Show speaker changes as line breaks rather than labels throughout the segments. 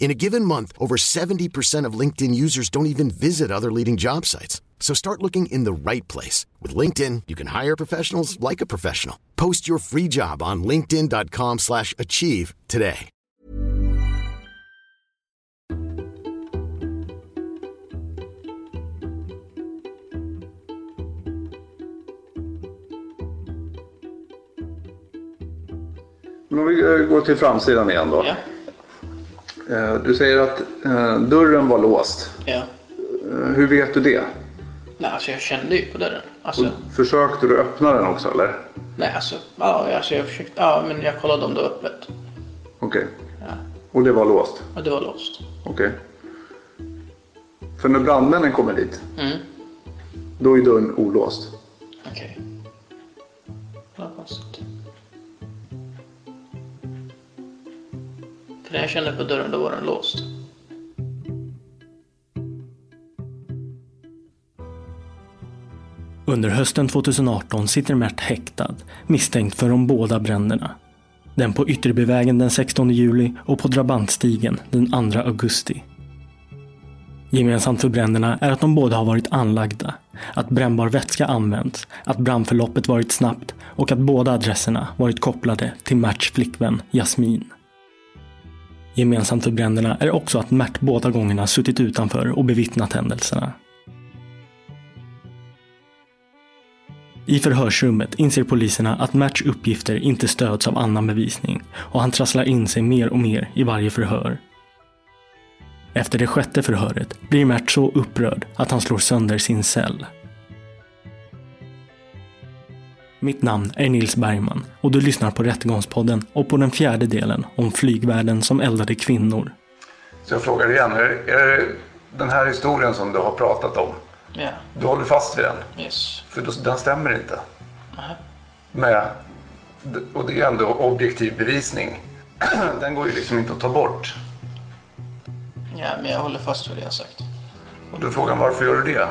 In a given month, over 70% of LinkedIn users don't even visit other leading job sites. So start looking in the right place. With LinkedIn, you can hire professionals like a professional. Post your free job on linkedin.com/achieve slash achieve today.
Men om vi eh, går till framsidan igen då.
Ja.
Eh, Du säger att eh, dörren var låst.
ja.
Eh, Hur vet du det?
Nej, alltså jag kände ju på dörren. Alltså,
Försökte du öppna den också eller?
nej, alltså, ja, alltså jag försökte, ja, men jag kollade om det var öppet.
Okej.
Ja,
Och det var låst?
och det var låst.
Okej. För när brandmännen kommer dit,
Mm,
då är dörren olåst.
okej. Vad konstigt. För när jag kände på dörren, då var den låst.
Under hösten 2018 sitter Mert häktad, misstänkt för de båda bränderna. Den på Ytterbyvägen den 16 juli och på Drabantstigen den 2 augusti. Gemensamt för bränderna är att de båda har varit anlagda, att brännbar vätska använts, att brandförloppet varit snabbt och att båda adresserna varit kopplade till Merts flickvän Jasmin. Gemensamt för bränderna är också att Mert båda gångerna suttit utanför och bevittnat händelserna. I förhörsrummet inser poliserna att Merts uppgifter inte stöds av annan bevisning och han trasslar in sig mer och mer i varje förhör. Efter det sjätte förhöret blir Mert så upprörd att han slår sönder sin cell. Mitt namn är Nils Bergman och du lyssnar på Rättegångspodden och på den fjärde delen om flygvärden som eldade kvinnor.
Så jag frågar igen, är, är det den här historien som du har pratat om,
Ja,
du håller fast vid den?
yes.
För då, den stämmer inte.
Nähä.
Med, och det är ändå objektiv bevisning. Den går ju liksom inte att ta bort.
Ja, men jag håller fast vid det jag sagt.
Och då är frågan varför gör du det?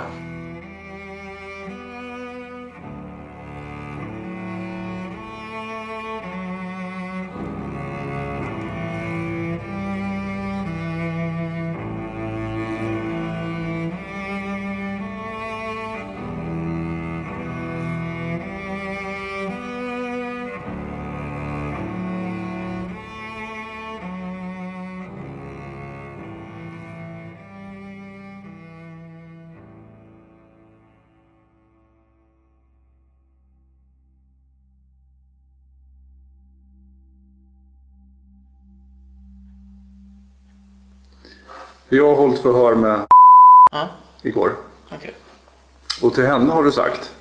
Jag har hållit förhör med
Ja,
igår.
okej.
Och till henne har du sagt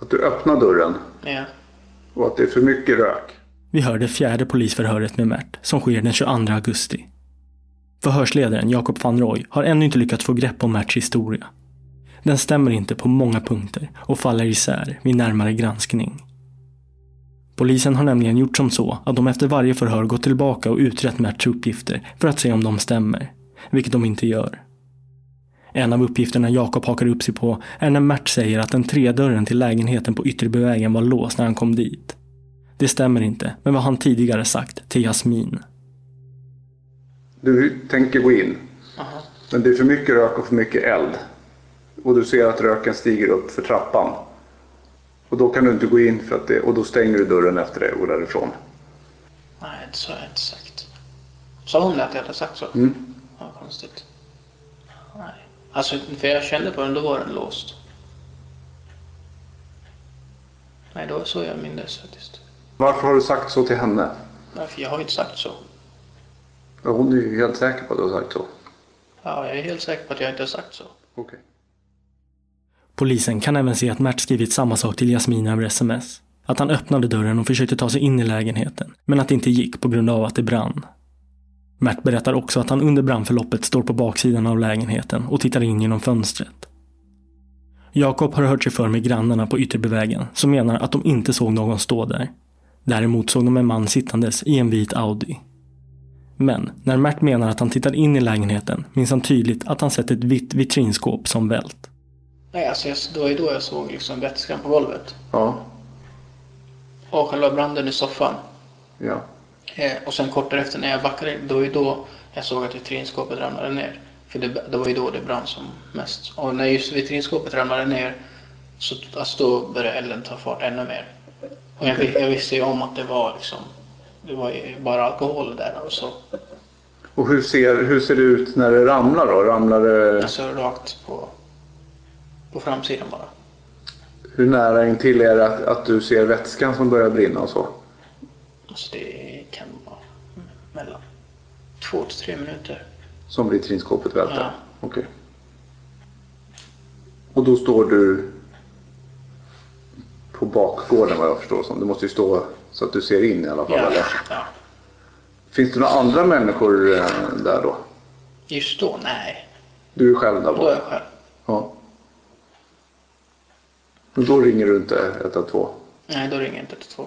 att du öppnar dörren
Ja,
och att det är för mycket rök.
Vi hör det fjärde polisförhöret med Mert som sker den 22 augusti. Förhörsledaren Jakob van Roy har ännu inte lyckats få grepp om Merts historia. Den stämmer inte på många punkter och faller isär vid närmare granskning. Polisen har nämligen gjort som så att de efter varje förhör gått tillbaka och utrett Merts uppgifter för att se om de stämmer, vilket de inte gör. En av uppgifterna Jakob hakar upp sig på är när Mert säger att den tredörren till lägenheten på Ytterbyvägen var låst när han kom dit. Det stämmer inte med vad han tidigare sagt till Jasmin.
Du tänker gå in. Men det är för mycket rök och för mycket eld. Och du ser att röken stiger upp för trappan. Och då kan du inte gå in för att det, och då stänger du dörren efter dig och går därifrån.
nej, det så har jag inte sagt. Sa hon att jag hade sagt så? Mm. Ja, konstigt. Nej. Alltså, för jag kände på den, då var den låst. Nej, då så jag mindes faktiskt.
Varför har du sagt så till henne?
Nej, för jag har ju inte sagt så.
Ja, Hon är ju helt säker på att du har sagt så.
Ja, jag är helt säker på att jag inte har sagt så.
Okej.
Polisen kan även se att Mert skrivit samma sak till Jasmin över sms. Att han öppnade dörren och försökte ta sig in i lägenheten, men att det inte gick på grund av att det brann. Mert berättar också att han under brandförloppet står på baksidan av lägenheten och tittar in genom fönstret. Jakob har hört sig för med grannarna på Ytterbyvägen som menar att de inte såg någon stå där. Däremot såg de en man sittandes i en vit Audi. Men när Mert menar att han tittar in i lägenheten minns han tydligt att han sett ett vitt vitrinskåp som vält.
Nej, alltså jag, det var ju då jag såg liksom vätskan på golvet.
Ja.
Och själva branden i soffan.
Ja.
Eh, och sen kort därefter när jag backade in, det var ju då jag såg att vitrinskåpet ramlade ner. För det, det var ju då det brann som mest. Och när just vitrinskåpet ramlade ner så alltså, då började elden ta fart ännu mer. Och jag, vi- jag visste ju om att det var liksom, det var ju bara alkohol där alltså, och så.
Och hur ser, hur ser det ut när det ramlar då? Ramlar det,
Alltså rakt på, på framsidan bara.
hur nära in till är det att, att du ser vätskan som börjar brinna och så?
Alltså det kan vara mellan två till tre minuter.
Som vitrinskåpet välter?
Ja.
Okej. Och då står du på bakgården vad jag förstår som. Du måste ju stå så att du ser in i alla fall.
Ja,
Eller?
ja.
Finns det några andra människor eh, där då?
Just då? Nej.
Du är själv där
Då är jag
borta?
själv.
Ja. Men då ringer du inte 112?
Nej, då ringer jag inte 112.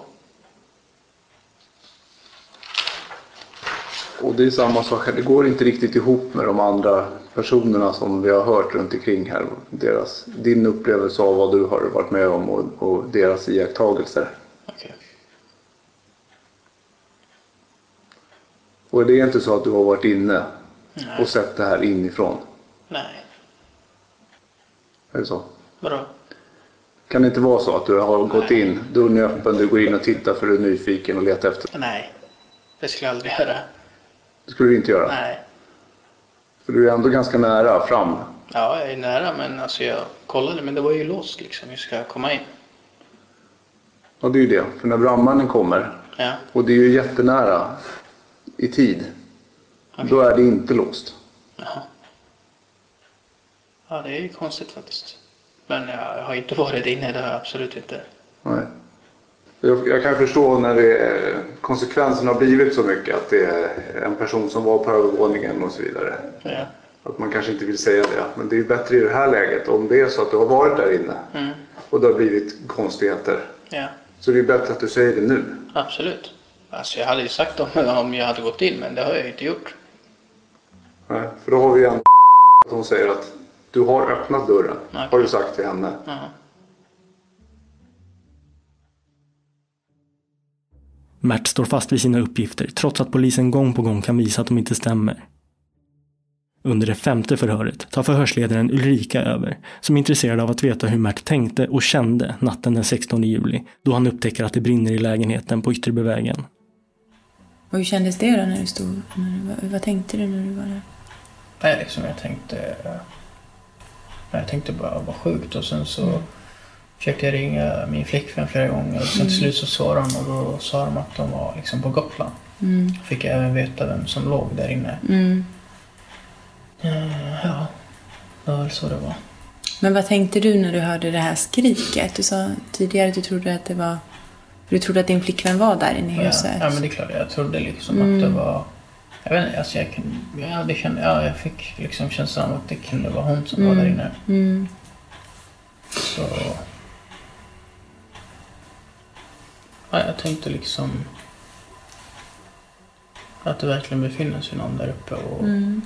Och det är samma sak här. Det går inte riktigt ihop med de andra personerna som vi har hört runt omkring här. Deras, din upplevelse av vad du har varit med om och, och deras iakttagelser.
Okej.
Och det är inte så att du har varit inne
Nej.
och sett det här inifrån?
Nej.
Är det så?
Vadå?
Kan det inte vara så att du har gått in, dörren är öppen, du går in och tittar för du är nyfiken och letar efter?
Nej. Det skulle jag aldrig göra.
Det skulle du inte göra.
Nej.
För du är ändå ganska nära fram.
Ja, jag är nära men alltså jag kollade men det var ju låst liksom. Hur ska jag komma in?
Ja, det är ju det. För när brandmannen kommer,
Ja.
och det är ju jättenära i tid, då är det inte låst.
Jaha. Ja, det är ju konstigt faktiskt. Men jag har inte varit inne, det har jag absolut inte.
Nej. Jag, jag kan förstå när det, konsekvensen har blivit så mycket att det är en person som var på övervåningen och så vidare.
Ja.
Att man kanske inte vill säga det. Men det är ju bättre i det här läget om det är så att du har varit där inne och det har blivit konstigheter.
Ja.
Så det är bättre att du säger det nu.
Absolut. Alltså jag hade ju sagt om, om jag hade gått in men det har jag ju inte gjort.
Nej, för då har vi en att hon säger att du har öppnat dörren.
Okej.
Har du sagt till henne.
Ja.
Mert står fast vid sina uppgifter trots att polisen gång på gång kan visa att de inte stämmer. Under det femte förhöret tar förhörsledaren Ulrika över, som är intresserad av att veta hur Mert tänkte och kände natten den 16 juli, då han upptäcker att det brinner i lägenheten på Ytterbyvägen.
Och hur kändes det då när du stod, när du, var- vad tänkte du när du var där?
Nej, liksom jag tänkte... Jag tänkte bara vad sjukt och sen så försökte jag ringa min flickvän flera gånger och sen till slut så svarade hon och då sa de att de var liksom på Gotland. Fick jag även veta vem som låg där inne. Eh, Ja, det var väl så det var.
Men vad tänkte du när du hörde det här skriket? Du sa tidigare att du trodde att det var, du trodde att din flickvän var där inne i
Ja,
huset. Mm.
ja men det är klart, jag trodde liksom att det var... Jag vet inte, alltså jag, kunde, ja, det kände, ja, jag fick liksom känslan av att det kunde vara hon som
Mm.
var där inne. Så... Ja, jag tänkte liksom... Att det verkligen befinner sig någon där uppe och...
Mm.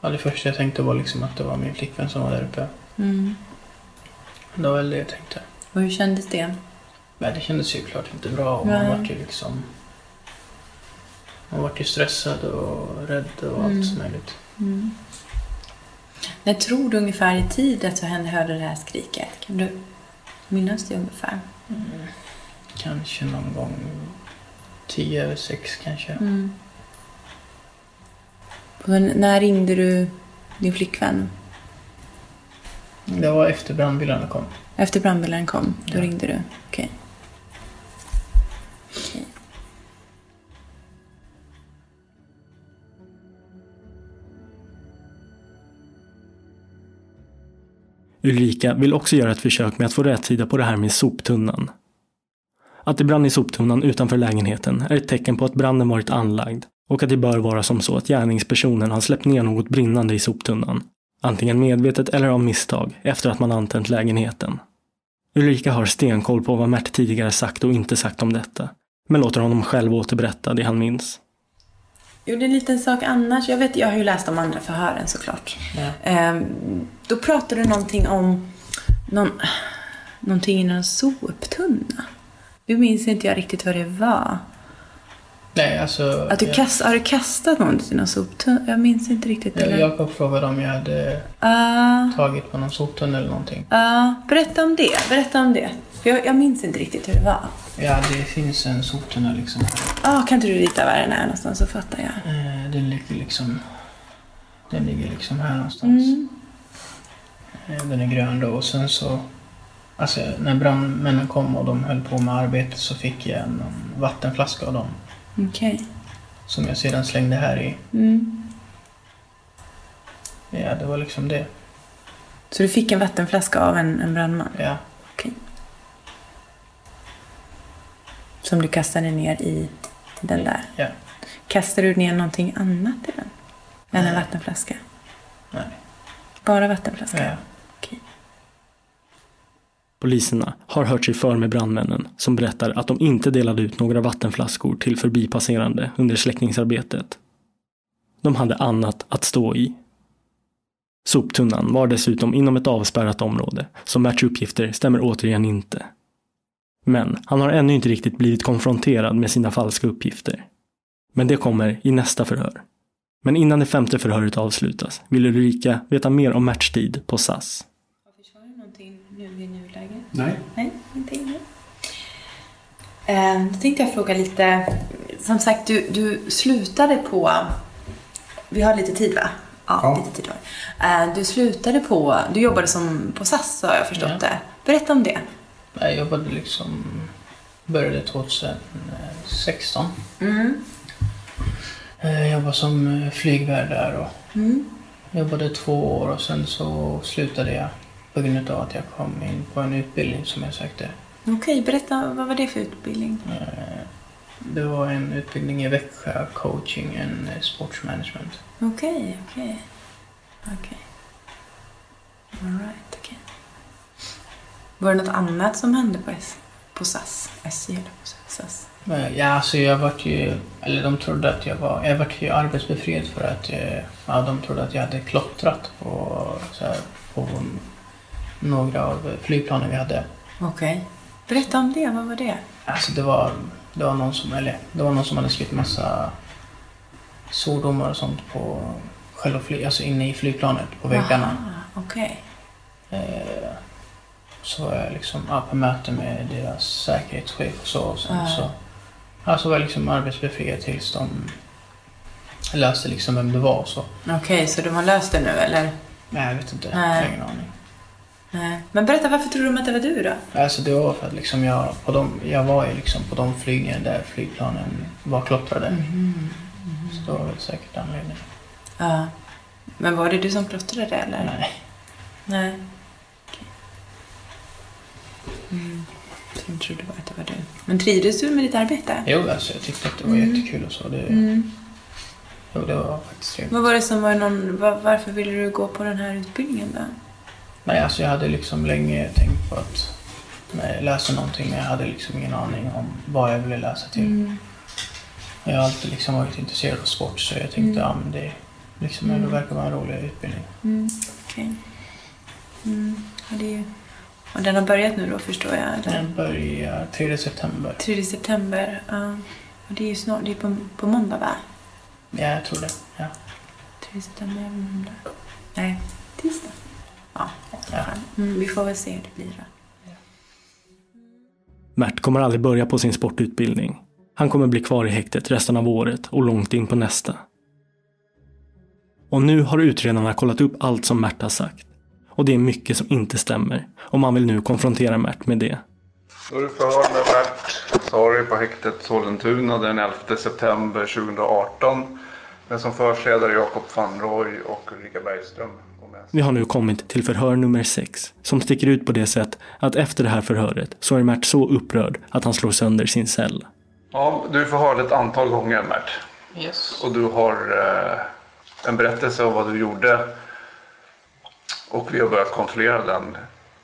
Ja, det första jag tänkte var liksom att det var min flickvän som var där uppe.
Mm.
Det var väl det jag tänkte.
Och hur kändes det?
Nej, det kändes ju klart inte bra och man
Nej.
vart ju liksom... Man vart ju stressad och rädd och allt
Mm.
som möjligt.
När tror du ungefär i tid att du henne hörde det här skriket? Kan du minnas det ungefär?
Kanske någon gång tio över sex kanske.
Mm. Och n- när ringde du din flickvän?
Det var efter brandbilarna kom.
Efter brandbilen kom, då ringde du? Okej. Okej.
Ulrika vill också göra ett försök med att få rätsida på det här med soptunnan. Att det brann i soptunnan utanför lägenheten är ett tecken på att branden varit anlagd och att det bör vara som så att gärningspersonen har släppt ner något brinnande i soptunnan. Antingen medvetet eller av misstag efter att man antänt lägenheten. Ulrika har stenkoll på vad Mert tidigare sagt och inte sagt om detta, men låter honom själv återberätta det han minns.
gjorde en liten sak annars. Jag, vet, jag har ju läst de andra förhören såklart. Ehm, då pratade du någonting om någon, någonting i någon soptunna. Nu minns inte jag riktigt vad det var.
Nej, alltså...
Att du
jag-
kast, har du kastat något i någon soptunna? Jag minns inte riktigt.
jag-
eller?
Jakob frågade om jag hade
Ah,
tagit på någon soptunna eller någonting.
ah, berätta om det. Berätta om det. För jag, jag minns inte riktigt hur det var.
Ja, det finns en soptunna liksom.
Ah, kan inte du rita var den är någonstans så fattar jag.
Eh, Den ligger liksom... Den ligger liksom här någonstans. Eh, Den är grön då och sen så... Alltså när brandmännen kom och de höll på med arbetet så fick jag en vattenflaska av dem.
Okej. Mm.
Som jag sedan slängde här i. Ja, det var liksom det.
Så du fick en vattenflaska av en, en brandman?
Ja.
Okej. Som du kastade ner i den där.
ja.
Kastade du ner någonting annat i den? Än en vattenflaska?
Nej.
Bara vattenflaska?
Ja.
Okej.
Poliserna har hört sig för med brandmännen som berättar att de inte delade ut några vattenflaskor till förbipasserande under släckningsarbetet. De hade annat att stå i. Soptunnan var dessutom inom ett avspärrat område, så Merts uppgifter stämmer återigen inte. Men han har ännu inte riktigt blivit konfronterad med sina falska uppgifter. Men det kommer i nästa förhör. Men innan det femte förhöret avslutas vill Ulrika veta mer om Merts tid på SAS.
Försvarar du någonting nu i nuläget?
Nej.
Nej, inte ännu. Eh, Då tänkte jag fråga lite. Som sagt, du, du slutade på... Vi har lite tid, va? Ja,
Ja.
lite tid har vi. Eh, Du slutade på... Du jobbade som på SAS, har jag förstått
Ja.
det. Berätta om det.
Jag jobbade liksom... Började 2016.
Mm.
Eh, Jag jobbade som eh, flygvärd där och jobbade två år och sen så slutade jag på grund av att jag kom in på en utbildning som jag sökte.
Okej, berätta. Vad var det för utbildning?
Det var en utbildning i Växjö, coaching and eh, sports management.
Okej, okej. Okej. Alright, okej. Var det något annat som hände på, S- på SAS? SJ eller på SAS?
Men, Ja, alltså jag vart ju, eller de trodde att jag var, jag vart ju arbetsbefriad för att jag, ja, de trodde att jag hade klottrat på, så här, på några av flygplanen vi hade.
Okej. Berätta om det. Vad var det?
Alltså det var, det var någon som, eller det var någon som hade skrivit massa svordomar och sånt på själva fly, alltså inne i flygplanet på väggarna.
Ah, Okej.
Så var jag liksom, ja, på möte med deras säkerhetschef och så. Och sen, så ja, så var jag liksom arbetsbefriad tills de löste liksom vem det var och så.
Okej, så de har löst det nu, eller?
Nej, jag vet inte.
Nej.
Jag har ingen aning.
Nej. Men berätta, varför tror de att det var du då?
Alltså det var för att liksom jag, på de, jag var ju liksom på de flygningar där flygplanen var klottrade. Så det var väl säkert anledningen.
Ja. Men var det du som klottrade, eller?
Nej.
Nej. Okej. Mm. Så de trodde bara att det var du. Men trivdes du med ditt arbete?
Jo, alltså jag tyckte att det var
Mm.
jättekul och så. Det, jo, det var faktiskt trevligt.
Vad var det som var någon... va- Varför ville du gå på den här utbildningen då?
Nej, alltså jag hade liksom länge tänkt på att nej, läsa någonting men jag hade liksom ingen aning om vad jag ville läsa
Typ.
till.
Mm.
Jag har alltid liksom varit intresserad av sport så jag
Mm.
tänkte att ja, men det, liksom, det verkar vara en rolig utbildning.
Okej. Mm. Ja, det är ju... Och den har börjat nu då, förstår jag? eller?
Den börjar 3 september.
3 september. Ja. Och det är ju snart... Det är på, på måndag, va?
Ja, jag tror det. Ja.
3 september, måndag. Nej, tisdag. Ja, i alla fall. Mm, vi får väl se hur det blir då.
Mert kommer aldrig börja på sin sportutbildning. Han kommer bli kvar i häktet resten av året och långt in på nästa. Och nu har utredarna kollat upp allt som Mert har sagt. Och det är mycket som inte stämmer. Och man vill nu konfrontera Mert med det.
Då är det förhör med Bert Sari på häktet Sollentuna den 11 september 2018. Med som företrädare Jakob van Rooij och Ulrika Bergström och mig.
Vi har nu kommit till förhör nummer 6, som sticker ut på det sätt att efter det här förhöret så är Mert så upprörd att han slår sönder sin cell.
Ja, du får höra ett antal gånger, Mert.
Yes.
Och du har eh, en berättelse om vad du gjorde. Och vi har börjat kontrollera den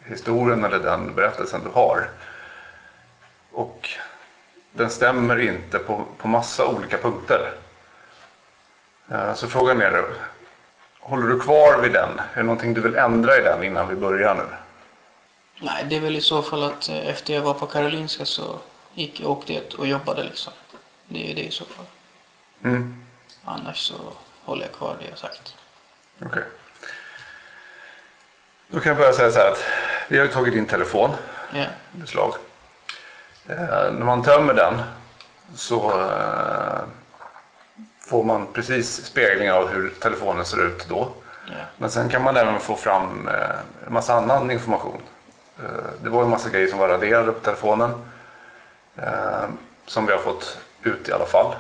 historien eller den berättelsen du har. Och den stämmer inte på, på massa olika punkter. Eh, så frågan är, håller du kvar vid den? Är det någonting du vill ändra i den innan vi börjar nu?
Nej, det är väl i så fall att eh, efter jag var på Karolinska så gick jag åkte jag och jobbade liksom. Det är det i så fall.
Mm.
Annars så håller jag kvar det jag sagt.
Okej. Då kan jag börja säga så här att vi har ju tagit din telefon.
Ja,
beslag. Eh, när man tömmer den så eh, får man precis spegling av hur telefonen ser ut då.
ja,
Men sen kan man även få fram eh, en massa annan information. Eh, det var ju en massa grejer som var raderade på telefonen. Eh, som vi har fått ut i alla fall.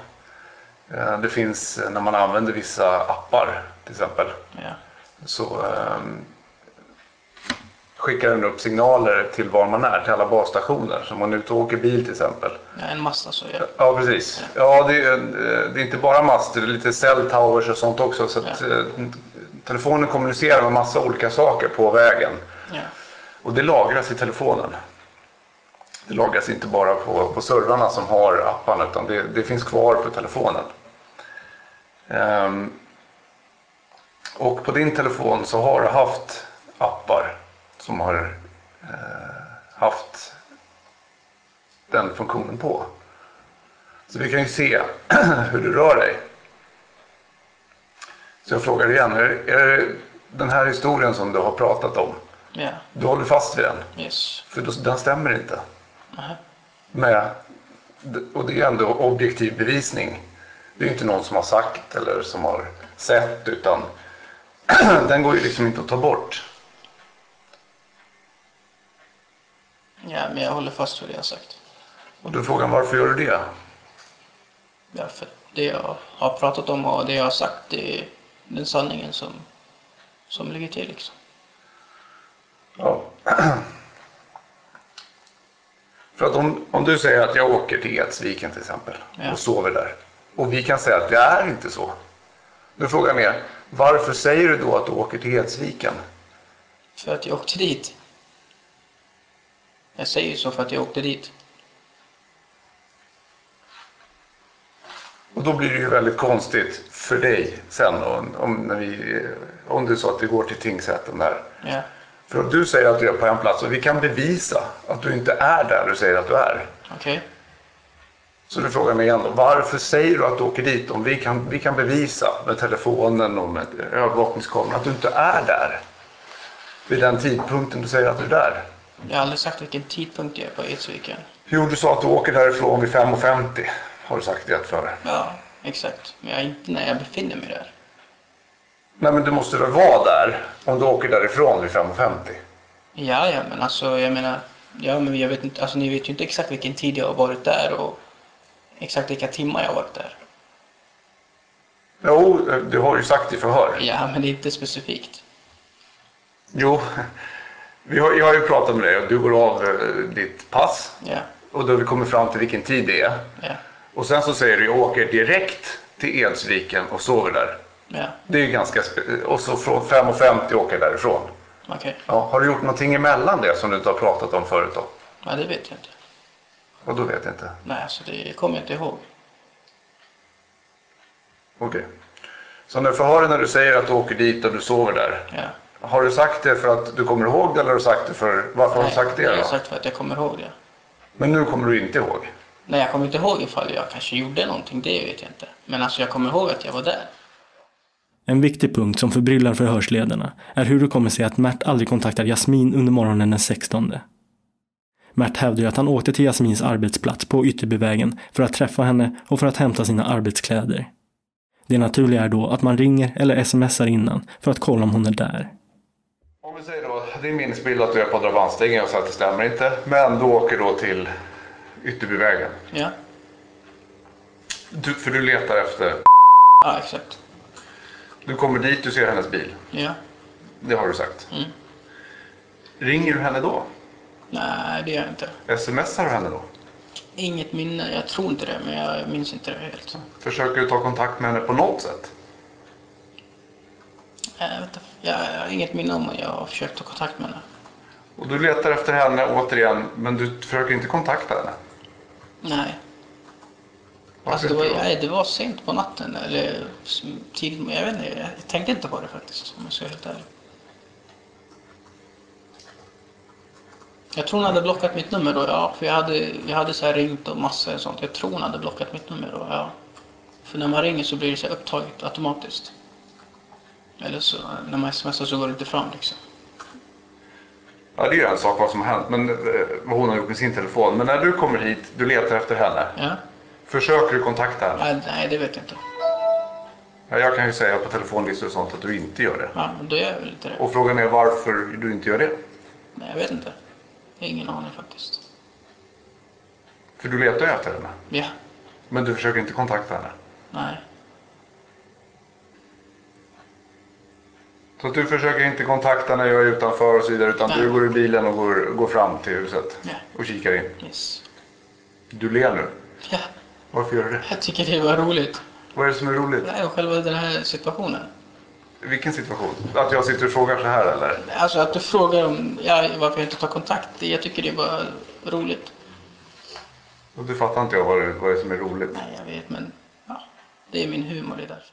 Eh, det finns eh, när man använder vissa appar till exempel
ja.
så ehm, skickar den upp signaler till var man är, till alla basstationer. Så om man är ute och åker bil till exempel.
ja en massa så ja.
Ja, precis. Ja, det är, eh, det är inte bara master, det är lite cell towers och sånt också. Så att, eh, telefonen kommunicerar med massa olika saker på vägen.
ja.
Och det lagras i telefonen. Det lagras inte bara på, på servrarna som har apparna utan det, det finns kvar på telefonen. Ehm, och på din telefon så har du haft appar som har eh, haft den funktionen på. Så vi kan ju se hur du rör dig. Så jag frågar igen, är, är det den här historien som du har pratat om,
Ja,
du håller fast vid den?
yes.
För då, den stämmer inte.
Nähä.
Med, och det är ändå objektiv bevisning. Det är ju inte någon som har sagt eller som har sett utan den går ju liksom inte att ta bort.
Ja, men jag håller fast vid det jag sagt.
Och då är frågan varför gör du det?
Ja, för det jag har pratat om och det jag har sagt, det är den sanningen som, som ligger till liksom.
Ja. För att om, om du säger att jag åker till Edsviken till exempel
Ja.
och sover där. Och vi kan säga att det är inte så. Då är frågan är varför säger du då att du åker till Edsviken?
För att jag åkte dit. Jag säger ju så för att jag åkte dit.
Och då blir det ju väldigt konstigt för dig sen om, om, när vi, om du sa att vi går till tingsrätten där.
Ja,
För att du säger att du är på en plats och vi kan bevisa att du inte är där du säger att du är.
okej.
Så du frågar mig igen då, varför säger du att du åker dit om vi kan, vi kan bevisa med telefonen och med övervakningskameran att du inte är där? Vid den tidpunkten du säger att du är där.
Jag har aldrig sagt vilken tidpunkt jag är på Edsviken.
Jo, du sa att du åker därifrån vid 5.50. Har du sagt det för?
Ja, exakt. Men jag är inte när jag befinner mig där.
Nej, men du måste väl vara där om du åker därifrån vid 5.50?
Ja, ja, men alltså jag menar, ja, men jag vet inte, alltså ni vet ju inte exakt vilken tid jag har varit där och exakt vilka timmar jag har varit där.
Jo, du har ju sagt i förhör.
Ja, men det är inte specifikt.
Jo, vi har, jag har ju pratat med dig och du går av eh, ditt pass
Ja,
och då har vi kommit fram till vilken tid det är.
ja,
Och sen så säger du jag åker direkt till Edsviken och sover där.
ja,
Det är ju ganska spe- Och så från 5.50 åker jag därifrån.
okej.
Ja, har du gjort någonting emellan det som du inte har pratat om förut då?
Ja, det vet jag inte.
Och då vet jag inte.
Nej, alltså det kommer jag inte ihåg.
Okej. Så när förhören när du säger att du åker dit och du sover där.
Ja.
Har du sagt det för att du kommer ihåg det eller har du sagt det för... Varför har du
Nej, Alltså,
sagt
Jag
det
har
då?
sagt för att jag kommer ihåg det.
Men nu kommer du inte ihåg.
Nej, jag kommer inte ihåg ifall jag kanske gjorde någonting, det vet jag inte. Men alltså jag kommer ihåg att jag var där.
En viktig punkt som förbryllar förhörsledarna är hur det kommer sig att Mert aldrig kontaktar Jasmin under morgonen den 16. Mert hävdar ju att han åkte till Jasmins arbetsplats på Ytterbyvägen för att träffa henne och för att hämta sina arbetskläder. Det naturliga är då att man ringer eller smsar innan för att kolla om hon är där.
Om vi säger då, det är minnesbild att du är på Drabantstigen och så att det stämmer inte. Men du åker då till Ytterbyvägen.
Ja,
Du, för du letar efter...
ja exakt.
Du kommer dit, du ser hennes bil.
Ja,
Det har du sagt. Ringer du henne då?
Nej, det gör jag inte.
Smsar du henne då?
Inget minne. Jag tror inte det, men jag minns inte det helt. Så.
Försöker du ta kontakt med henne på något sätt?
Jag, vet inte, jag, jag har inget minne om att jag har försökt ta kontakt med henne.
Och du letar efter henne återigen, men du försöker inte kontakta henne?
Nej.
Varför
Alltså det, var,
inte då?
nej, det var sent på natten eller s- tidigt. Jag vet inte, jag tänkte inte på det faktiskt om jag ska vara helt ärlig. Jag tror hon hade blockat mitt nummer då, ja. För jag hade, jag hade så här ringt och massor och sånt. Jag tror hon hade blockat mitt nummer då, ja. För när man ringer så blir det så här upptaget automatiskt. Eller så, när man smsar så går det inte fram liksom.
Ja, det är ju en sak vad som har hänt, men eh, vad hon har gjort med sin telefon. Men när du kommer hit, du letar efter henne.
Ja.
Försöker du kontakta henne?
Nej, nej, det vet jag inte.
Ja, jag kan ju säga på telefonlistor och sånt att du inte gör det.
Ja, men då gör jag väl inte det.
Och frågan är varför du inte gör det?
Nej, jag vet inte. Jag har ingen aning faktiskt.
För du letar ju efter henne.
Ja,
Men du försöker inte kontakta henne.
nej.
Så att du försöker inte kontakta när jag är utanför och så vidare. Utan
Nej.
du går i bilen och går, går fram till huset.
Ja.
Och kikar in.
Yes.
Du ler nu.
Ja,
Varför gör du det?
jag tycker det var roligt.
Vad är det som är roligt?
Nej, och själva den här situationen.
Vilken situation? Att jag sitter och frågar så här eller?
Alltså att du frågar om ja, varför jag inte tar kontakt. Jag tycker det var roligt.
Och du fattar inte jag vad det, vad det är som är roligt.
Nej, jag vet, men ja, det är min humor, det är därför.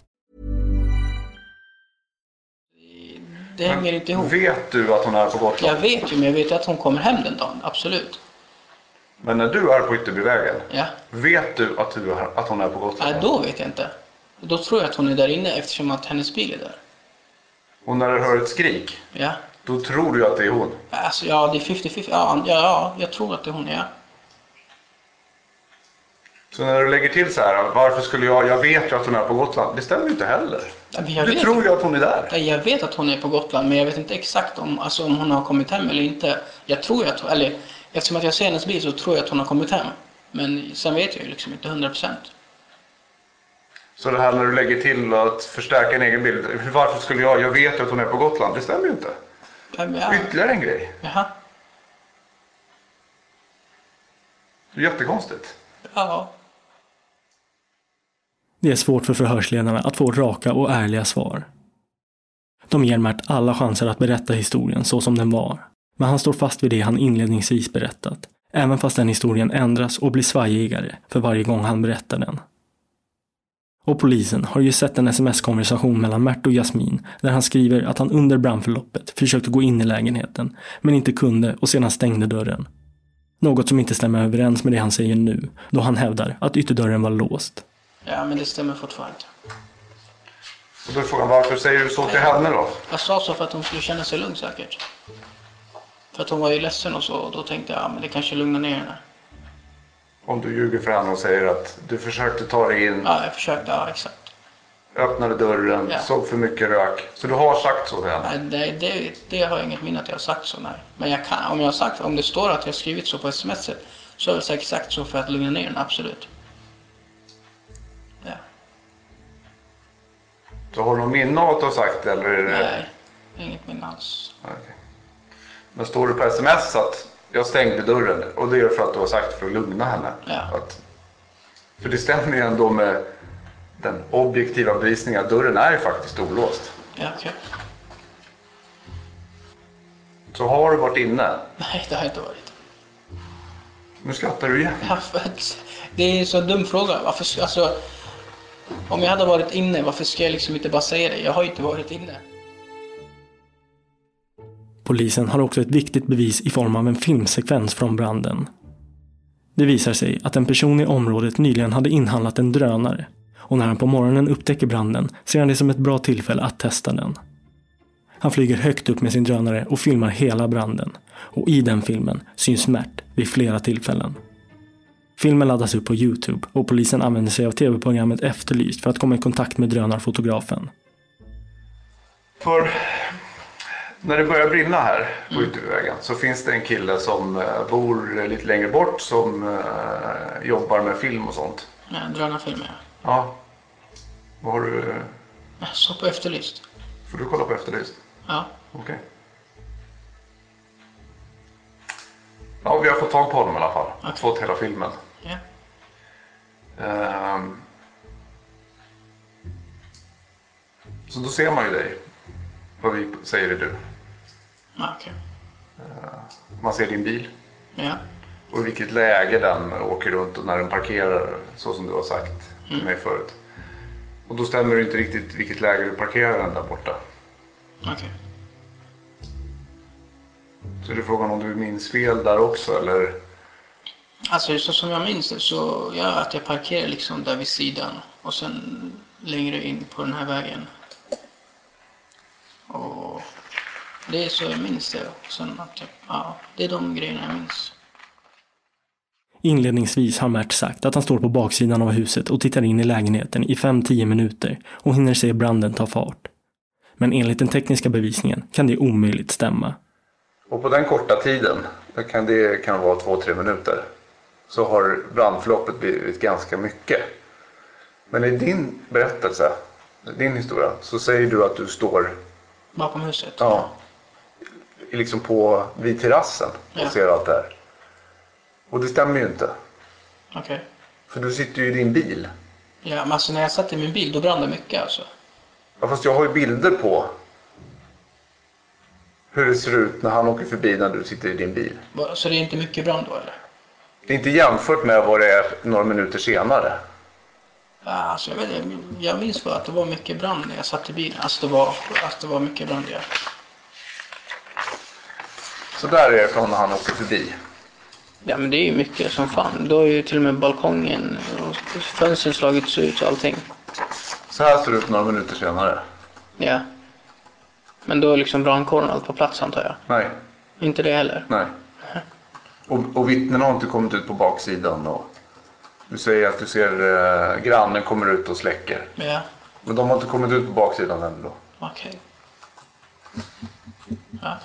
Det hänger inte ihop.
Vet du att hon är på Gotland?
Jag vet ju, men jag vet ju att hon kommer hem den dagen. Absolut.
Men när du är på Ytterbyvägen,
Ja.
vet du att, du är, att hon är på Gotland?
Nej, då vet jag inte. Då tror jag att hon är där inne eftersom att hennes bil är där.
Och när du hör ett skrik,
Ja.
då tror du att det är hon.
Alltså, ja, det är 50-50. Ja, ja, ja, jag tror att det är hon, ja.
Så när du lägger till så här, varför skulle jag, jag vet ju att hon är på Gotland. Det stämmer ju inte heller.
Ja, men jag
Du
vet
tror ju att hon är där.
Nej, Jag vet att hon är på Gotland men jag vet inte exakt om, alltså, om hon har kommit hem eller inte. Jag tror ju att, eller eftersom att jag ser hennes bil så tror jag att hon har kommit hem. Men sen vet jag ju liksom inte 100 procent.
Så det här när du lägger till att förstärka en egen bild. Varför skulle jag? Jag vet ju att hon är på Gotland. Det stämmer ju inte. Ytterligare en grej.
Jaha.
Det är jättekonstigt.
Ja.
Det är svårt för förhörsledarna att få raka och ärliga svar. De ger Mert alla chanser att berätta historien så som den var. Men han står fast vid det han inledningsvis berättat. Även fast den historien ändras och blir svajigare för varje gång han berättar den. Och polisen har ju sett en sms-konversation mellan Mert och Jasmin där han skriver att han under brandförloppet försökte gå in i lägenheten men inte kunde och sedan stängde dörren. Något som inte stämmer överens med det han säger nu då han hävdar att ytterdörren var låst.
Ja, men det stämmer fortfarande inte.
Och då är frågan varför säger du så till henne då?
Jag sa så för att hon skulle känna sig lugn säkert. För att hon var ju ledsen och så och då tänkte jag, ja men det kanske lugnar ner henne.
Om du ljuger för henne och säger att du försökte ta dig in,
Ja, jag försökte, ja exakt.
öppnade dörren,
Ja.
såg för mycket rök. Så du har sagt så till henne?
Nej, det, det, det har jag inget minne att jag har sagt så, nej. Men jag kan, om jag har sagt, om det står att jag har skrivit så på sms et, så har jag säkert sagt så för att lugna ner henne, absolut. Ja,
Så har du någon minne av att du har sagt det? Eller är det...
nej. Inget minne alls.
Okej. Men står det på sms att jag stängde dörren och det är för att du har sagt för att lugna henne?
Ja.
Att... För det stämmer ju ändå med den objektiva bevisningen att dörren är ju faktiskt olåst.
Ja, okej.
Så har du varit inne.
Nej, det har jag inte varit.
Nu skrattar du igen.
Ja, för att- Det är en så dum fråga. Varför, ska- alltså, om jag hade varit inne, varför ska jag liksom inte bara säga det? Jag har ju inte varit inne.
Polisen har också ett viktigt bevis i form av en filmsekvens från branden. Det visar sig att en person i området nyligen hade inhandlat en drönare och när han på morgonen upptäcker branden ser han det som ett bra tillfälle att testa den. Han flyger högt upp med sin drönare och filmar hela branden och i den filmen syns Mert vid flera tillfällen. Filmen laddas upp på Youtube och polisen använder sig av tv-programmet Efterlyst för att komma i kontakt med drönarfotografen.
För när det börjar brinna här på Ytterbyvägen så finns det en kille som eh, bor lite längre bort som eh, jobbar med film och sånt.
Nej, drönarfilmer, ja.
Ja. Vad har du? eh,
Jag såg på Efterlyst.
Får du kolla på Efterlyst?
Ja.
Okej. Ja, vi har fått tag på honom i alla fall.
Okej.
Fått hela filmen.
ja.
Ehm. Så då ser man ju dig. Vad vi säger är du.
Ja, okej.
Man ser din bil.
Ja.
Och i vilket läge den åker runt och när den parkerar. Så som du har sagt till mig förut. Och då stämmer det inte riktigt vilket läge du parkerar den där borta.
Okej.
Så är det frågan om du minns fel där också eller?
Alltså så som jag minns det så ja, att jag parkerar liksom där vid sidan och sen längre in på den här vägen. Och det är så jag minns det. Och sen att jag, ja, det är de grejerna jag minns.
Inledningsvis har Mert sagt att han står på baksidan av huset och tittar in i lägenheten i 5-10 minuter och hinner se branden ta fart. Men enligt den tekniska bevisningen kan det omöjligt stämma.
Och på den korta tiden, det kan, det kan vara två, tre minuter, så har brandförloppet blivit ganska mycket. Men i din berättelse, din historia, så säger du att du står
Bakom huset.
ja, i- liksom på, vid terrassen och
Ja.
ser allt det här. Och det stämmer ju inte.
Okej.
För du sitter ju i din bil.
Ja, men alltså när jag satt i min bil då brann det mycket alltså.
Ja, fast jag har ju bilder på hur det ser ut när han åker förbi när du sitter i din bil.
Bara- Så det är inte mycket brand då eller?
Det är inte jämfört med vad det är några minuter senare.
Ja, Alltså jag, vet, inte, jag minns bara att det var mycket brand när jag satt i bilen. Alltså det var, att det var mycket brand ja.
Så där är det från när han åker förbi.
Ja men det är ju mycket som fan. Då är ju till och med balkongen och fönstren slagits ut och allting.
Så här ser det ut några minuter senare.
Ja. Men då är liksom brandkåren allt på plats antar jag.
Nej,
Inte det heller.
nej. Och, och vittnen har inte kommit ut på baksidan. Och du säger att du ser eh, grannen kommer ut och släcker.
Ja,
Men de har inte kommit ut på baksidan än då.
okej. Ja.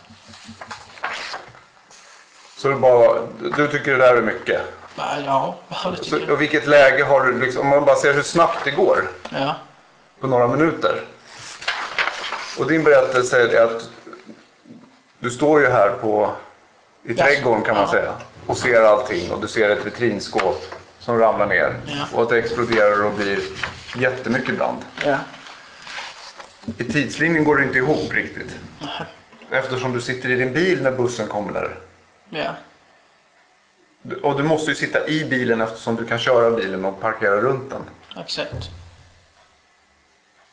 Så det är bara, du tycker det där är mycket.
Bara, Ja, ja, det tycker
Så,
jag.
och vilket läge har du, liksom, om man bara ser hur snabbt det går
Ja.
på några minuter. Och din berättelse är att du står ju här på, i trädgården kan man
Ja.
säga och ser allting och du ser ett vitrinskåp som ramlar ner
Ja.
och att det exploderar och blir jättemycket brand.
ja.
I tidslinjen går det inte ihop riktigt. Eftersom du sitter i din bil när bussen kommer där.
Ja.
Du- Och du måste ju sitta i bilen eftersom du kan köra bilen och parkera runt den.
Exakt.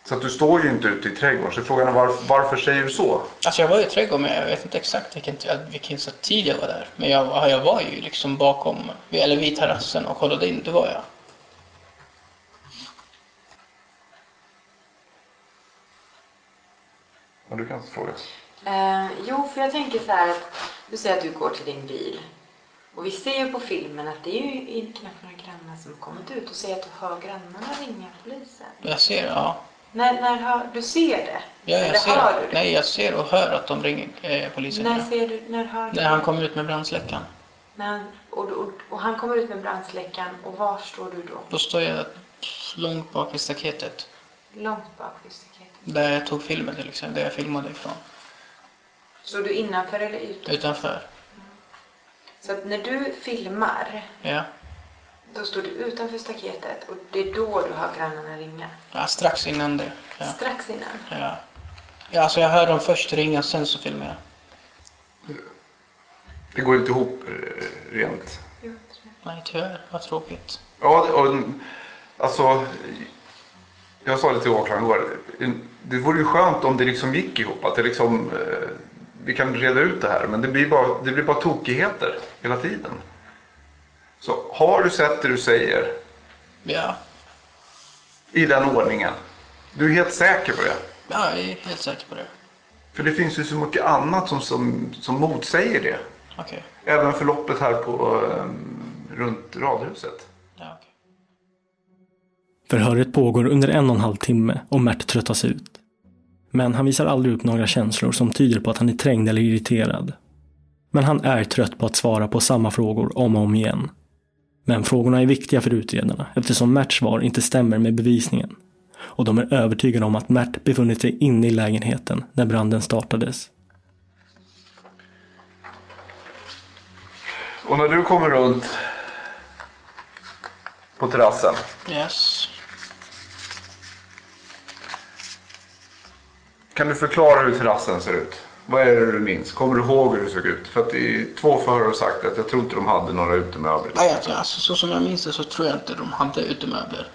Så att du står ju inte ute i trädgården. Så frågan är varför, varför säger du så?
Alltså jag var ju i trädgården men jag vet inte exakt vilken, vilken så tid jag var där. Men jag, jag var ju liksom bakom, eller vid terrassen och kollade in, det var jag.
Ja, du kan fråga.
Eh, jo, för jag tänker så här att du säger att du går till din bil. Och vi ser ju på filmen att det är ju inte knappt några grannar som har kommit ut och säger att du hör grannarna ringa polisen.
Jag ser, ja.
När, när hör, du ser det?
ja jag
Eller hör du
ser.
det?
Nej, jag ser och hör att de ringer eh, polisen.
När
Ja.
ser du, när hör du?
När han kom ut med brandsläckaren.
När han, och, och, och han kommer ut med brandsläckaren och var står du då?
Då står jag långt bak i staketet.
Långt bak vid staketet.
Där jag tog filmen till exempel, där jag filmade ifrån.
Står du innanför eller utanför?
Utanför.
Så att när du filmar,
Ja.
då står du utanför staketet och det är då du hör grannarna ringa.
ja strax innan det. Ja.
Strax innan.
Ja. ja, alltså jag hör dem först ringa, sen så filmar jag.
Det går inte ihop eh, rent.
Jo, jag tror det.
Nej, tyvärr. Vad tråkigt.
Ja, och, alltså. Jag sa det till åklagaren igår. Det vore ju skönt om det liksom gick ihop. Att det liksom, eh, vi kan reda ut det här. Men det blir, bara, det blir bara tokigheter hela tiden. Så har du sett det du säger
Ja,
i den ordningen. Du är helt säker på det.
ja jag är helt säker på det.
För det finns ju så mycket annat som, som, som motsäger det.
Okej.
Även förloppet här på, eh, runt radhuset.
Ja, okej.
Förhöret pågår under en och en halv timme och Mert tröttas ut. Men han visar aldrig upp några känslor som tyder på att han är trängd eller irriterad. Men han är trött på att svara på samma frågor om och om igen. Men frågorna är viktiga för utredarna eftersom Merts svar inte stämmer med bevisningen. Och de är övertygade om att Mert befunnit sig inne i lägenheten när branden startades.
Och när du kommer runt på terrassen.
Yes.
Kan du förklara hur terrassen ser ut? Vad är det du minns? Kommer du ihåg hur det såg ut? För att i två förhör har sagt att jag tror inte de hade några utemöbler.
Nej, alltså, alltså, så som jag minns det så tror jag inte de hade utemöbler.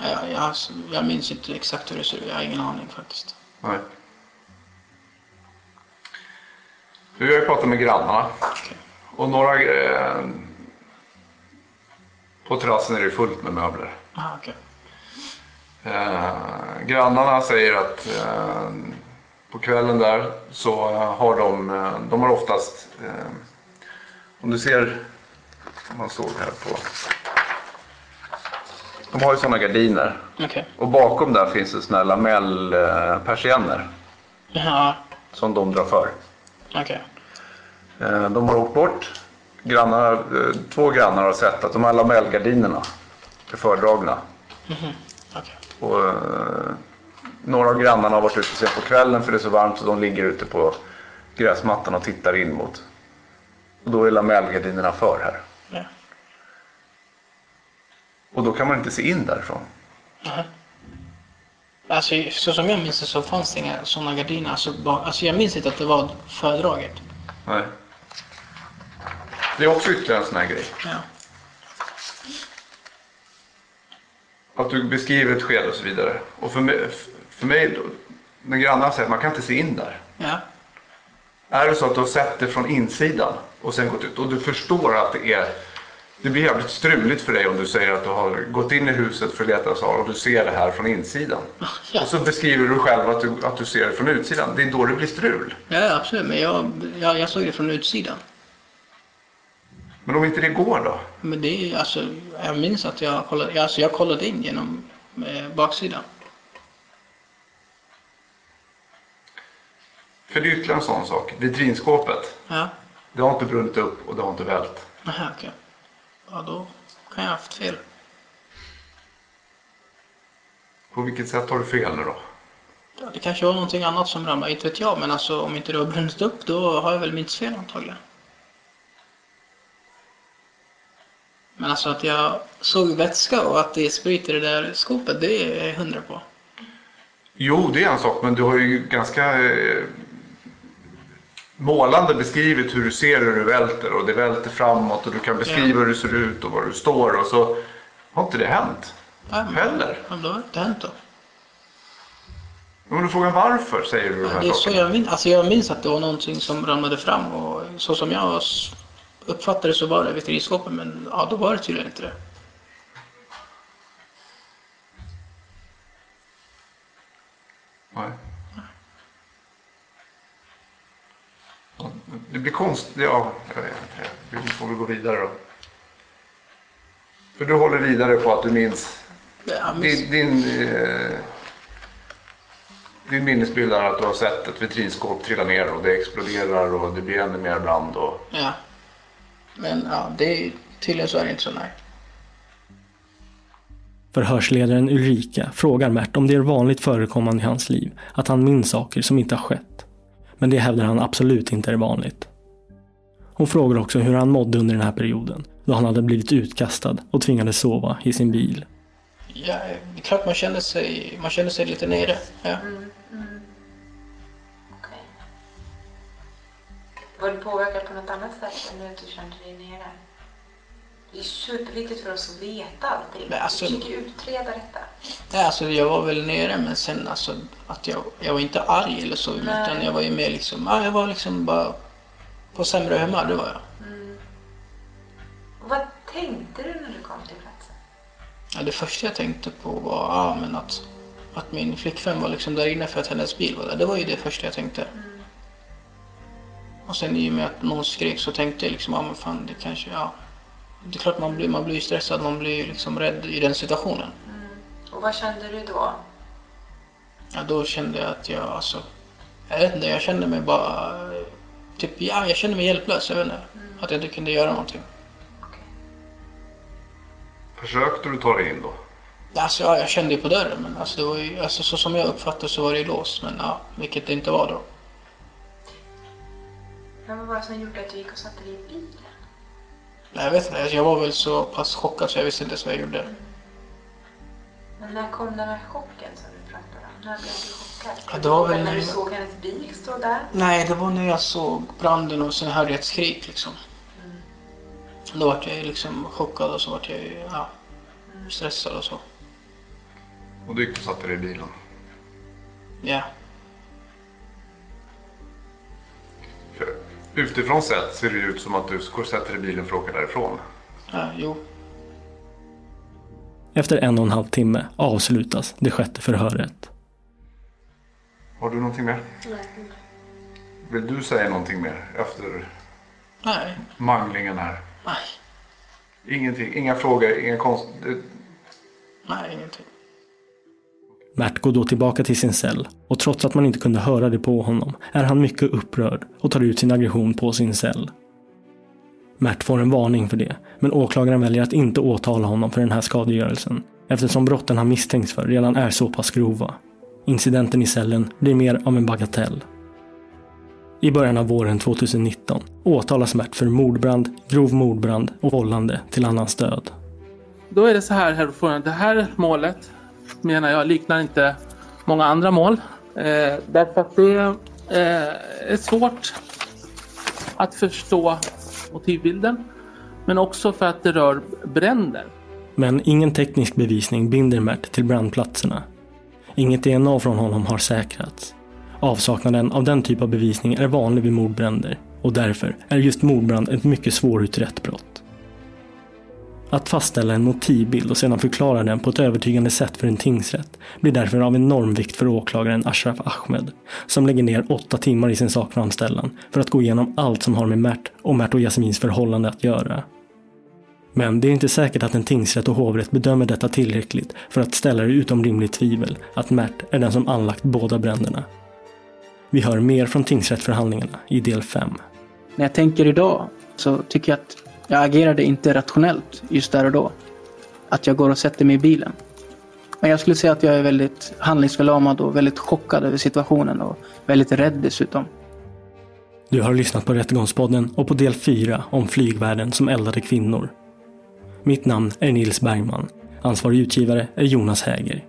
Ja, jag, alltså, jag minns inte exakt hur det ser ut. Jag har ingen aning faktiskt.
Nej. Du, jag har ju pratat med grannarna. Och några... Eh, på terrassen är det fullt med möbler.
Ah, okej.
Eh, grannarna säger att eh, på kvällen där så eh, har de, eh, de har oftast, eh, om du ser, om man såg här på, de har ju sådana gardiner
Okej.
och bakom där finns det sådana här lamellpersienner
Ja,
som de drar för.
okej.
Eh, de har åkt bort, grannar, eh, två grannar har sett att de här lamellgardinerna är fördragna.
Okej.
Och, eh, några av grannarna har varit ute sen på kvällen för det är så varmt och de ligger ute på gräsmattan och tittar in mot. Och då är lamellgardinerna för här.
Ja.
Och då kan man inte se in därifrån.
Alltså, så som jag minns det så fanns det inga sådana gardiner. Alltså, bara, alltså, jag minns inte att det var föredraget.
Nej. Det är också ytterligare en sån här grej.
Ja.
Att du beskriver ett skede och så vidare. Och för mig, för mig när grannarna säger att man kan inte se in där.
Ja.
Är det så att du har sett det från insidan och sen gått ut och du förstår att det är det blir jävligt struligt för dig om du säger att du har gått in i huset för att leta svar och du ser det här från insidan.
Ja.
Och så beskriver du själv att du, att du ser det från utsidan. Det är då det blir strul.
ja, absolut. Men jag, jag, jag såg det från utsidan.
Men om inte det går då?
Men det är alltså, jag minns att jag kollade, alltså jag kollade in genom eh, baksidan.
För det är ytterligare en sån sak. Vitrinskåpet.
Ja,
Det har inte brunnit upp och det har inte vält.
Aha, okej. ja då kan jag ha haft fel.
På vilket sätt har du fel nu då?
Ja, det kanske var någonting annat som ramlade, inte vet jag. Men alltså om inte det har brunnit upp då har jag väl minst fel antagligen. Men alltså att jag såg vätska och att det är sprit i det där skåpet, det är jag hundra på.
Jo, det är en sak, men du har ju ganska eh, målande beskrivit hur du ser hur du välter och det välter framåt och du kan beskriva hur du ser ut och var du står och så har inte det hänt.
Nej, men,
Heller.
Ja, men då har det inte hänt då.
Om du frågar varför säger du de
Ja,
här
Det är så
sakerna.
jag, minns. Alltså jag minns att det var någonting som ramlade fram och så som jag s- uppfattade det så var det vitrinskåpet men ja, då var det tydligen inte det.
Nej. Ja, Det blir konstigt. Ja, jag vet inte. Vi får väl gå vidare då. För du håller vidare på att du minns.
Ja, men-
Din, din, eh, din minnesbild är att du har sett ett vitrinskåp trilla ner och det exploderar och det blir ännu mer brand. Och,
Ja. Men ja, det, tydligen så är det inte så nej.
Förhörsledaren Ulrika frågar Mert om det är vanligt förekommande i hans liv att han minns saker som inte har skett. Men det hävdar han absolut inte är vanligt. Hon frågar också hur han mådde under den här perioden, då han hade blivit utkastad och tvingades sova i sin bil.
Ja, det är klart man känner sig, man känner sig lite nere. Ja.
Var du påverkad på något annat sätt än du kände dig nere? Det är superviktigt för oss att veta allting.
Men alltså-
Vi försöker utreda detta.
Nej, alltså jag var väl nere men sen alltså att jag, jag var inte arg eller så
Nej.
utan jag var ju mer liksom, ja, jag var liksom bara på sämre humör, det var jag.
Och vad tänkte du när du kom till platsen?
Ja, det första jag tänkte på var ja, men att, att min flickvän var liksom där inne för att hennes bil var där. Det var ju det första jag tänkte. Och sen i och med att någon skrek så tänkte jag liksom, ja men fan det kanske, ja. Det är klart man blir, man blir ju stressad, man blir ju liksom rädd i den situationen.
Och vad kände du då?
Ja, då kände jag att jag alltså, jag vet inte, jag kände mig bara, eh, typ ja, jag kände mig hjälplös, jag vet inte. Att jag inte kunde göra någonting.
försökte du ta dig in då?
Alltså ja, jag kände ju på dörren men alltså, det var ju, alltså så som jag uppfattade så var det ju låst, men ja, vilket det inte var då.
Men vad var det som gjorde att du gick och satte dig i bilen?
Nej, jag vet inte. Alltså, Jag var väl så pass chockad så jag visste inte ens vad jag gjorde.
Men när kom den här chocken som du pratade om? När blev du chockad?
Ja, det var väl
Eller när
när
du
jag-
såg hennes bil stå där?
Nej, det var när jag såg branden och sen hörde jag ett skrik liksom. Då vart jag ju liksom chockad och så vart jag ju, ja, stressad och så.
Och du gick och satte dig i bilen.
Ja.
För utifrån sett ser det ju ut som att du går och sätter dig i bilen för att åka därifrån.
ja, jo.
Efter en och en halv timme avslutas det sjätte förhöret.
Har du någonting mer? Vill du säga någonting mer efter
Nej,
manglingen här?
nej,
Ingenting, inga frågor, inga konst... eh,
nej, ingenting.
Mert går då tillbaka till sin cell och trots att man inte kunde höra det på honom är han mycket upprörd och tar ut sin aggression på sin cell. Mert får en varning för det, men åklagaren väljer att inte åtala honom för den här skadegörelsen eftersom brotten han misstänks för redan är så pass grova. Incidenten i cellen blir mer av en bagatell. I början av våren 2019 åtalas Mert för mordbrand, grov mordbrand och vållande till annans död.
Då är det så här, herr ordförande. Det här målet menar jag liknar inte många andra mål. Eh, därför att det eh, är svårt att förstå motivbilden. Men också för att det rör bränder.
Men ingen teknisk bevisning binder Mert till brandplatserna. Inget DNA från honom har säkrats. Avsaknaden av den typ av bevisning är vanlig vid mordbränder och därför är just mordbrand ett mycket svårutrett brott. Att fastställa en motivbild och sedan förklara den på ett övertygande sätt för en tingsrätt blir därför av enorm vikt för åklagaren Ashraf Ahmed som lägger ner åtta timmar i sin sakframställan för att gå igenom allt som har med Mert och Mert och Jasmins förhållande att göra. Men det är inte säkert att en tingsrätt och hovrätt bedömer detta tillräckligt för att ställa det utom rimligt tvivel att Mert är den som anlagt båda bränderna. Vi hör mer från tingsrättsförhandlingarna i del 5.
När jag tänker idag så tycker jag att
Jag agerade inte rationellt just där och då. Att jag går och sätter mig i bilen. Men jag skulle säga att jag är väldigt handlingsförlamad och väldigt chockad över situationen och väldigt rädd dessutom.
Du har lyssnat på Rättegångspodden och på del 4 om flygvärden som eldade kvinnor. Mitt namn är Nils Bergman. Ansvarig utgivare är Jonas Häger.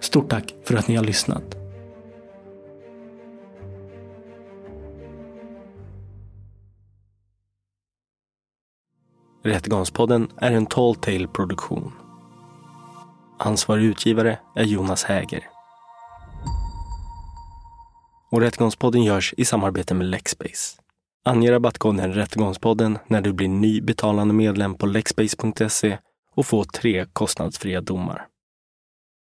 Stort tack för att ni har lyssnat. Rättegångspodden är en Tall Tale-produktion. Ansvarig utgivare är Jonas Häger. Och Rättegångspodden görs i samarbete med Lexbase. Ange rabattkoden Rättegångspodden när du blir ny betalande medlem på lexbase.se och få tre kostnadsfria domar.